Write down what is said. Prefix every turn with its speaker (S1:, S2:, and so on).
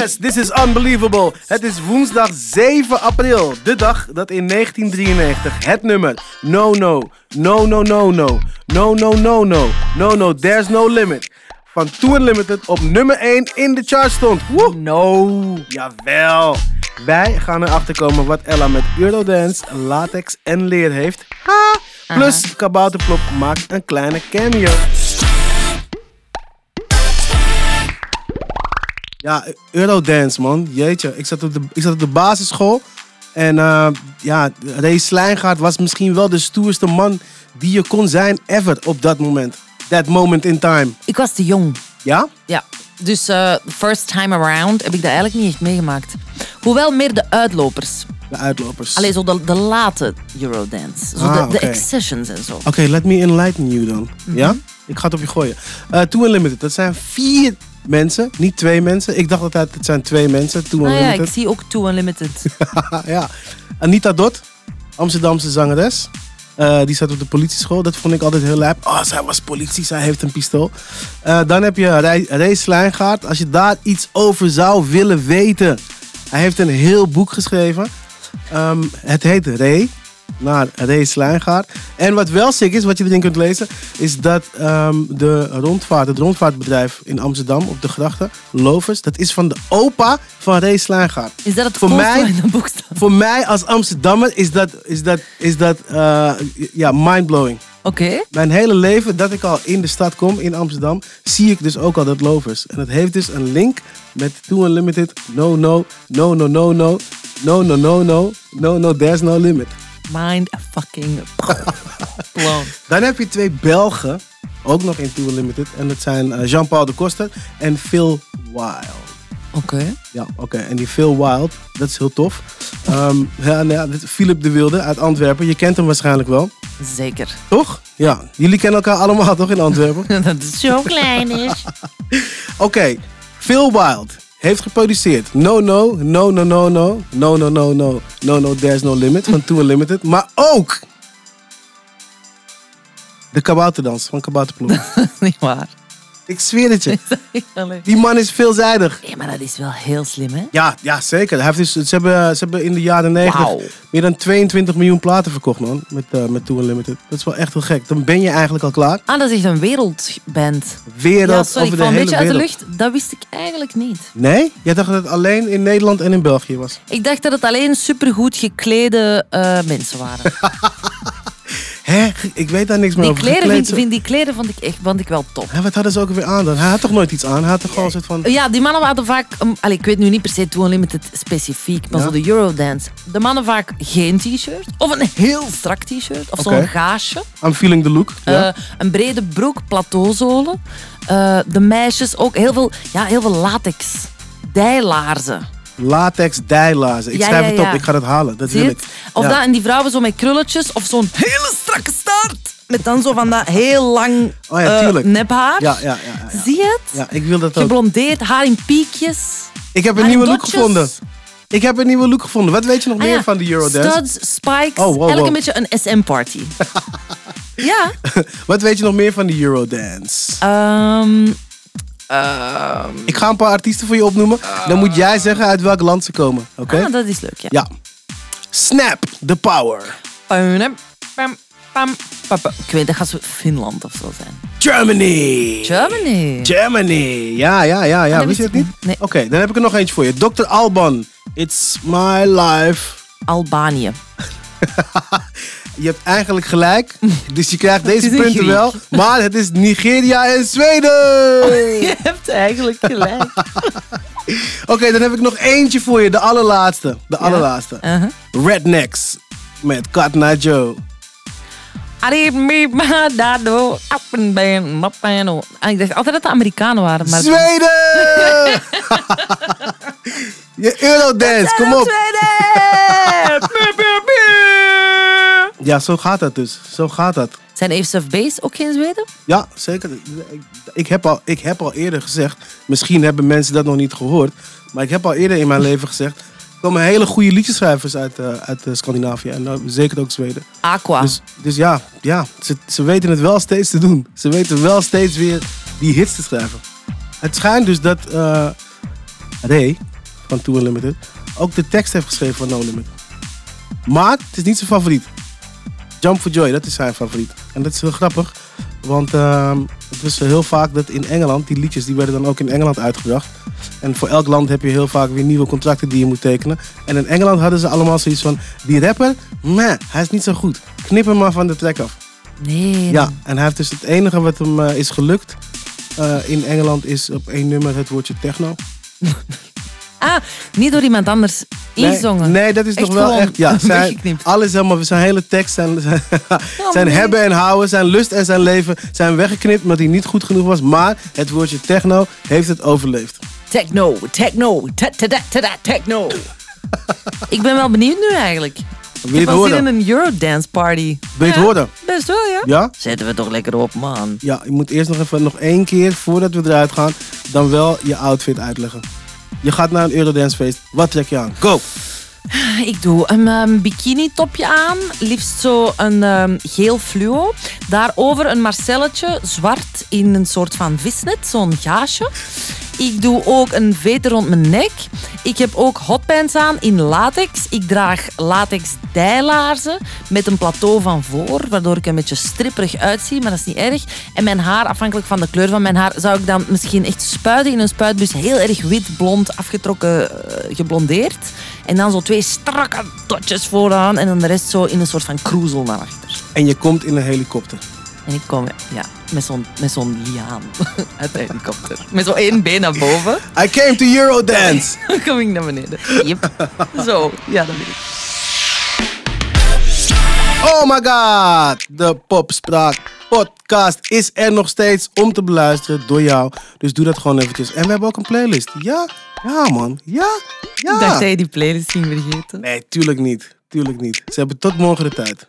S1: Yes, this is unbelievable. Het is woensdag 7 april, de dag dat in 1993 het nummer No No, No No No No, No No No No, No No There's No Limit van Tour Limited op nummer 1 in de chart stond. Woe!
S2: No.
S1: Jawel! Wij gaan erachter komen wat Ella met Eurodance, latex en leer heeft. Ha! Plus Kabouterplop maakt een kleine cameo. Ja, Eurodance man. Jeetje, ik zat op de, ik zat op de basisschool. En eh, ja, Ray Slijngaard was misschien wel de stoerste man die je kon zijn ever op dat moment. That moment in time.
S2: Ik was te jong.
S1: Ja?
S2: Ja. Dus eh, first time around heb ik dat eigenlijk niet echt meegemaakt. Hoewel meer de uitlopers.
S1: De uitlopers.
S2: Allee, zo de, de late Eurodance. Zo
S1: Ah,
S2: de, de
S1: oké. Ah,
S2: Accessions en zo.
S1: Oké, let me enlighten you dan.
S2: Mhm.
S1: Ja? Ik ga het op je gooien. Eh Too Unlimited, dat zijn vier mensen, niet twee mensen. Ik dacht altijd, het zijn twee mensen. Too
S2: Nou ja, ik
S1: Unlimited.
S2: zie ook Too Unlimited.
S1: ja, Anita Dot, Amsterdamse zangeres. Eh, die zat op de politieschool. Dat vond ik altijd heel lijp. Oh, zij was politie, zij heeft een pistool. Eh, dan heb je Ray, Ray Slijngaard. Als je daar iets over zou willen weten. Hij heeft een heel boek geschreven. Ehm, het heet Ray. Naar Ray Slijngaard. En wat wel sick is, wat je erin kunt lezen, is dat ehm, de rondvaart, het rondvaartbedrijf in Amsterdam op de grachten, Lovers, dat is van de opa van Ray Slijngaard.
S2: Is dat het
S1: Voor
S2: coolste
S1: mij-
S2: wat in dat boek staat?
S1: Voor mij als Amsterdammer is dat, is dat, is dat eh, ja, mindblowing.
S2: Oké.
S1: Mijn hele leven dat ik al in de stad kom, in Amsterdam, zie ik dus ook al dat lovers. En het heeft dus een link met Too Unlimited, no, no, no, no, no, no, no, no, no, no, no, no, there's no limit.
S2: Mind fucking blown.
S1: Dan heb je twee Belgen, ook nog in Too Unlimited. En dat zijn eh, Jean-Paul de Koster en Phil Wild.
S2: Oké.
S1: Ja, oké. En die Phil Wild, dat is heel tof. Ehm ja, nou ja, dit is Philip de Wilde uit Antwerpen. Je kent hem waarschijnlijk wel,
S2: Zeker.
S1: toch? Ja, jullie kennen elkaar allemaal toch in Antwerpen?
S2: dat is zo klein is.
S1: Oké, Phil Wild heeft geproduceerd No No, No No No No, No No No No, No No There's No Limit van Too Unlimited. Maar ook de kabouterdans van Kabouterploeg.
S2: Niet waar.
S1: Ik zweer het je. Die man is veelzijdig.
S2: Ja, maar dat is wel heel slim, hè?
S1: Ja, ja zeker. Hij heeft dus, ze, hebben, ze hebben in de jaren 90
S2: Wauw.
S1: meer dan 22 miljoen platen verkocht, man. Met, eh met Too Unlimited. Dat is wel echt heel gek. Dan ben je eigenlijk al klaar.
S2: Ah, dat is echt een wereldband.
S1: Wereld
S2: ja, sorry, ik
S1: over de
S2: val een
S1: hele
S2: beetje uit de
S1: wereld.
S2: lucht. Dat wist ik eigenlijk niet.
S1: Nee? Jij dacht dat het alleen in Nederland en in België was.
S2: Ik dacht dat het alleen supergoed geklede eh, mensen waren.
S1: Hè? Ik weet daar niks meer
S2: Die
S1: over.
S2: kleren,
S1: Gekleed
S2: vind,
S1: zo-
S2: vind die kleren vond ik echt vond ik wel top.
S1: Hè, wat hadden ze ook weer aan dan? Hij had toch nooit iets aan? Hij had toch gewoon een soort van...
S2: Ja, die mannen hadden vaak... ehm, allee, ik weet nu niet per se Too Unlimited specifiek, maar
S1: Ja.
S2: zo de Eurodance. De mannen vaak geen t-shirt. Of een heel strak t-shirt. Of
S1: Oké.
S2: zo'n gaasje.
S1: I'm feeling the look. Ja?
S2: Eh, een brede broek, plateauzolen. Eh, de meisjes ook heel veel, ja, heel veel latex. Dijlaarzen.
S1: Latex dijlaarzen. Ik
S2: Ja,
S1: schrijf
S2: ja,
S1: het op.
S2: ja.
S1: Ik ga dat halen. Dat
S2: Zie
S1: wil
S2: je
S1: ik.
S2: het? Of
S1: Ja.
S2: dat, en die vrouwen zo met krulletjes of zo'n hele strakke staart. Met dan zo van dat heel lang
S1: Oh ja,
S2: eh,
S1: tuurlijk.
S2: nephaar.
S1: Ja, ja, ja, ja, ja.
S2: Zie je het?
S1: Ja, ik wil dat ook.
S2: Geblondeerd, haar in piekjes.
S1: Ik heb een
S2: haar in
S1: nieuwe look
S2: dotjes.
S1: gevonden. Ik heb een nieuwe look gevonden. Wat weet je nog
S2: Ah
S1: meer
S2: ja,
S1: van de Eurodance?
S2: Studs, spikes,
S1: Oh, wow,
S2: eigenlijk
S1: wow.
S2: een beetje een SM-party. ja.
S1: Wat weet je nog meer van de Eurodance?
S2: Ehm, ehm,
S1: Ik ga een paar artiesten voor je opnoemen. Dan moet jij zeggen uit welk land ze komen. Oké?
S2: ah, dat is leuk, ja.
S1: Ja. Snap the power.
S2: Pam, pam, pam, pam, pam. Ik weet, dat gaat zo Finland of zo zijn.
S1: Germany.
S2: Germany.
S1: Germany. Ja, ja, ja, ja.
S2: Oh, dat
S1: Wist je
S2: wist
S1: het
S2: ik
S1: niet?
S2: niet. Nee.
S1: Oké, dan heb ik er nog eentje voor je. Dr. Alban. It's my life.
S2: Albanië.
S1: Je hebt eigenlijk gelijk. Dus je krijgt deze
S2: is een
S1: punten
S2: Griek.
S1: wel. Maar het is Nigeria en Zweden.
S2: Je hebt eigenlijk gelijk.
S1: Oké, dan heb ik nog eentje voor je. De allerlaatste. De allerlaatste.
S2: Uh-huh.
S1: Rednecks. Met Katna Joe.
S2: Arrive me, ma, dado, appenbeen, mappeno. Ah, Ik dacht altijd dat de Amerikanen waren, maar...
S1: Zweden! je Eurodance, kom op.
S2: Zweden! Piep, piep, piep.
S1: Ja, zo gaat dat dus. Zo gaat dat.
S2: Zijn Ace of Base ook geen Zweden?
S1: Ja, zeker. Ik, ik heb al, ik heb al eerder gezegd, misschien hebben mensen dat nog niet gehoord, maar ik heb al eerder in mijn leven gezegd, er komen hele goede liedjeschrijvers uit, eh, uit eh, Scandinavië en eh, zeker ook Zweden.
S2: Aqua.
S1: Dus, dus ja, ja ze, ze weten het wel steeds te doen. Ze weten wel steeds weer die hits te schrijven. Het schijnt dus dat eh Ray van Too Unlimited, ook de tekst heeft geschreven van No Limit. Maar het is niet zijn favoriet. Jump for Joy, dat is zijn favoriet. En dat is heel grappig, want ehm, het is heel vaak dat in Engeland, die liedjes die werden dan ook in Engeland uitgebracht. En voor elk land heb je heel vaak weer nieuwe contracten die je moet tekenen. En in Engeland hadden ze allemaal zoiets van, die rapper, meh, hij is niet zo goed. Knip hem maar van de track af.
S2: Nee.
S1: Ja, en hij heeft dus het enige wat hem eh, is gelukt eh, in Engeland is op één nummer het woordje techno.
S2: Ah, niet door iemand anders inzongen.
S1: Nee, nee, dat is
S2: Echt
S1: nog wel
S2: gewoon
S1: echt. Ja, zijn,
S2: weggeknipt.
S1: alles helemaal, zijn hele tekst, zijn, zijn, zijn
S2: nee.
S1: hebben en houden, zijn lust en zijn leven zijn weggeknipt omdat hij niet goed genoeg was. Maar het woordje techno heeft het overleefd.
S2: Techno, techno, ta- ta- ta- ta- ta- techno. Ik ben wel benieuwd nu eigenlijk.
S1: Wil
S2: Ik
S1: je het
S2: was hier
S1: horen?
S2: in een Eurodance party.
S1: Wil je het
S2: Ja,
S1: horen?
S2: Best wel, ja.
S1: Ja?
S2: Zetten we toch lekker op, man.
S1: Ja, je moet eerst nog even, nog één keer voordat we eruit gaan, dan wel je outfit uitleggen. Je gaat naar een Eurodance feest. Wat trek je aan? Go!
S2: Ik doe een ehm, bikini topje aan, liefst zo een ehm, geel fluo. Daarover een marcelletje, zwart in een soort van visnet, zo'n gaasje. Ik doe ook een veter rond mijn nek. Ik heb ook hotpants aan in latex. Ik draag latex dijlaarzen met een plateau van voor, waardoor ik een beetje stripperig uitzie, maar dat is niet erg. En mijn haar, afhankelijk van de kleur van mijn haar, zou ik dan misschien echt spuiten in een spuitbus. Heel erg wit, blond, afgetrokken, eh, geblondeerd. En dan zo twee strakke dotjes vooraan en dan de rest zo in een soort van kroezel naar achter.
S1: En je komt in een helikopter.
S2: En ik kom ja, met zo'n met zo'n liaan uit de helikopter. Met zo één been naar boven.
S1: I came to Eurodance!
S2: Dan kom ik naar beneden. Yep. Zo, ja, dat weet ik.
S1: Oh my god! De Popspraak podcast is er nog steeds om te beluisteren door jou. Dus doe dat gewoon eventjes. En we hebben ook een playlist. Ja, ja man. Ja,
S2: Ik dacht dat
S1: ja.
S2: je die playlist ging vergeten.
S1: Nee, tuurlijk niet. Tuurlijk niet. Ze hebben tot morgen de tijd.